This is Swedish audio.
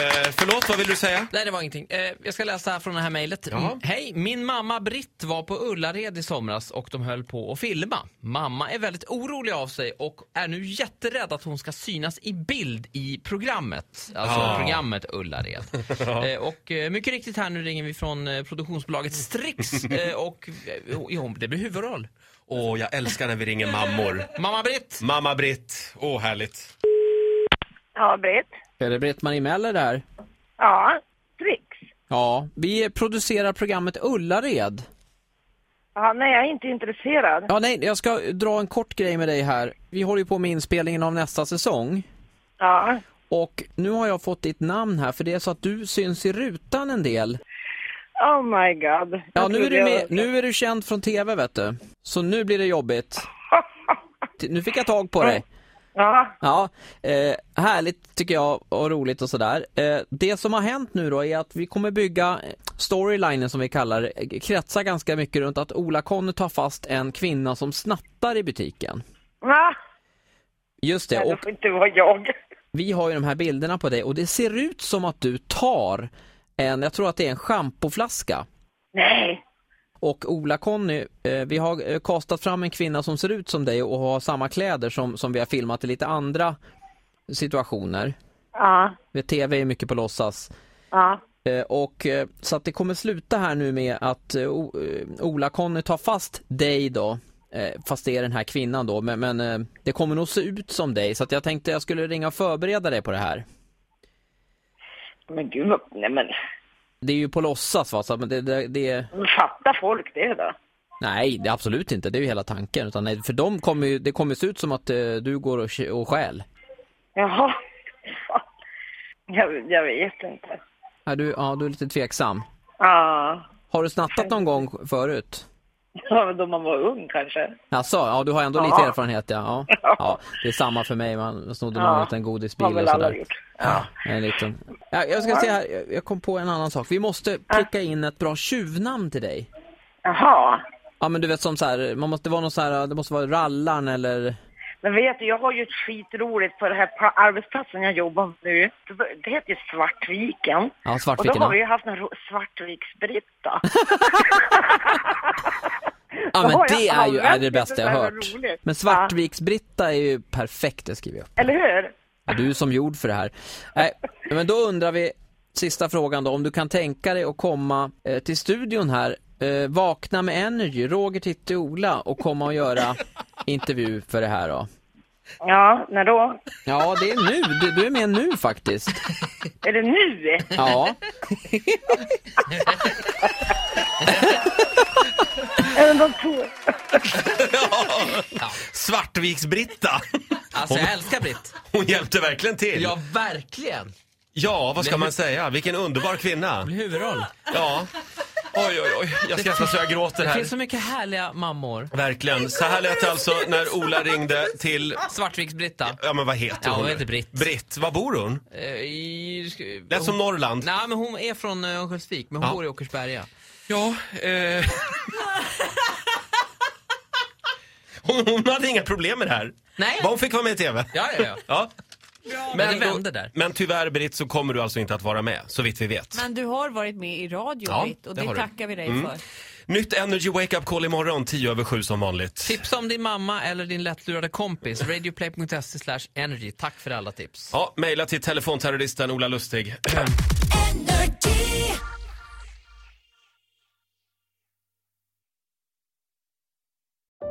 Eh, förlåt, vad vill du säga? Nej, det var ingenting. Eh, jag ska läsa från det här mejlet. Mm, Hej, min mamma Britt var på Ullared i somras och de höll på att filma. Mamma är väldigt orolig av sig och är nu jätterädd att hon ska synas i bild i programmet. Alltså Ah. programmet Ullared. eh, och eh, mycket riktigt här nu ringer vi från eh, produktionsbolaget Strix eh, och eh, jo, det blir huvudroll. Åh, jag älskar när vi ringer mammor. Mamma Britt! Mamma Britt, åh härligt. Ja, Britt. Är det Britt-Marie Meller där? Ja, Trix. Ja, vi producerar programmet Ullared. Ja, nej, jag är inte intresserad. Ja, nej, jag ska dra en kort grej med dig här. Vi håller ju på med inspelningen av nästa säsong. Ja, Och nu har jag fått ditt namn här, för det är så att du syns i rutan en del. oh my god. Ja, Jag nu är trodde du, jag med, var- nu är du känd från TV, vet du. Så nu blir det jobbigt. T- Nu fick jag tag på dig. Ja, Ja, eh, härligt tycker jag och roligt och sådär. Eh, det som har hänt nu då är att vi kommer bygga eh, storylinen som vi kallar det, eh, kretsar ganska mycket runt att Ola-Conny tar fast en kvinna som snattar i butiken. va? Just det, Det och får inte vara jag. Vi har ju de här bilderna på dig och det ser ut som att du tar en, jag tror att det är en schampoflaska. Nej. Och Ola-Conny, eh, vi har eh, kastat fram en kvinna som ser ut som dig och har samma kläder som, som vi har filmat i lite andra situationer. Ja, Vid TV är mycket på låtsas. ja. Eh, Och, eh, så att det kommer sluta här nu med att eh, O- eh, Ola-Conny tar fast dig då. eh, Fast det är den här kvinnan då, men, men eh, det kommer nog se ut som dig. Så att jag tänkte jag skulle ringa och förbereda dig på det här. Men gud, vad- nej men. Det är ju på låtsas va, så att- men det, det, det, Fattar folk det då? nej det är absolut inte, det är ju hela tanken. Utan nej, för de kommer ju, det kommer se ut som att eh, du går och, kä- och stjäl. Jaha. Fan. Jag, jag vet inte. Ja du, ja, du är lite tveksam. Ja, Har du snattat någon gång förut? ja men då man var ung kanske. Alltså, ja du har ändå lite Ja. erfarenhet ja. ja. Ja, det är samma för mig, man snodde någon Ja, liten godisbil Har och väl alla sådär. gjort. Ja, en liten. Ja, jag ska se här, jag- jag kom på en annan sak. Vi måste pricka in ett bra tjuvnamn till dig. Jaha. Ja men du vet som så här, man måste vara någon så här, det måste vara Rallan eller Men vet du, jag har ju ett skitroligt på den här pa- arbetsplatsen jag jobbar på nu. Det heter ju Svartviken. Ja, Och Svartviken. då har ja. vi ju haft en ro- Svartviksbritta. Ja Då men har jag det är ju aldrig är det tyckt bästa det jag där var hört. roligt. Men Svartviks-Britta är ju perfekt, det skriver jag upp. Eller hur? Ja, Du är som gjord för det här. Nej, men då undrar vi, sista frågan då, om du kan tänka dig att komma eh, till studion här, eh, vakna med Energy, Roger, Titti, Ola och komma och göra intervju för det här då? Ja, när då? Ja, det är nu, du, du är med nu faktiskt. Är det nu? Ja, Eller de tog... Svartviks-Britta. alltså jag älskar Britt. Hon hjälpte verkligen till. Ja, verkligen. vad ska man säga? Vilken underbar kvinna. Huvudroll. Ja. Oj, oj, oj. Jag skrattar så jag gråter här. mycket härliga mammor. Verkligen. Så här lät det alltså när Ola ringde till, Svartviks-Britta. ja men vad heter Ja, hon? hon heter Britt. Britt, var bor hon? Eh, Lät som Norrland. Nej, men hon är från eh, Örnsköldsvik, men hon Ja. bor i Åkersberga. Ja, eh... hon, hon hade inga problem med det här. Nej. Bara Hon fick vara med i TV. Ja, ja, ja. Ja. Men det vände där. Men tyvärr Britt så kommer du alltså inte att vara med, så vitt vi vet. Men du har varit med i radio Ja, Britt, och det det, har du. Mm. tackar vi dig för. Nytt Energy Wake Up Call imorgon 10 över 7 som vanligt. Tipsa om din mamma eller din lättlurade kompis. Radioplay.se slash energy. Tack för alla tips. Ja, mejla till telefonterroristen Ola Lustig.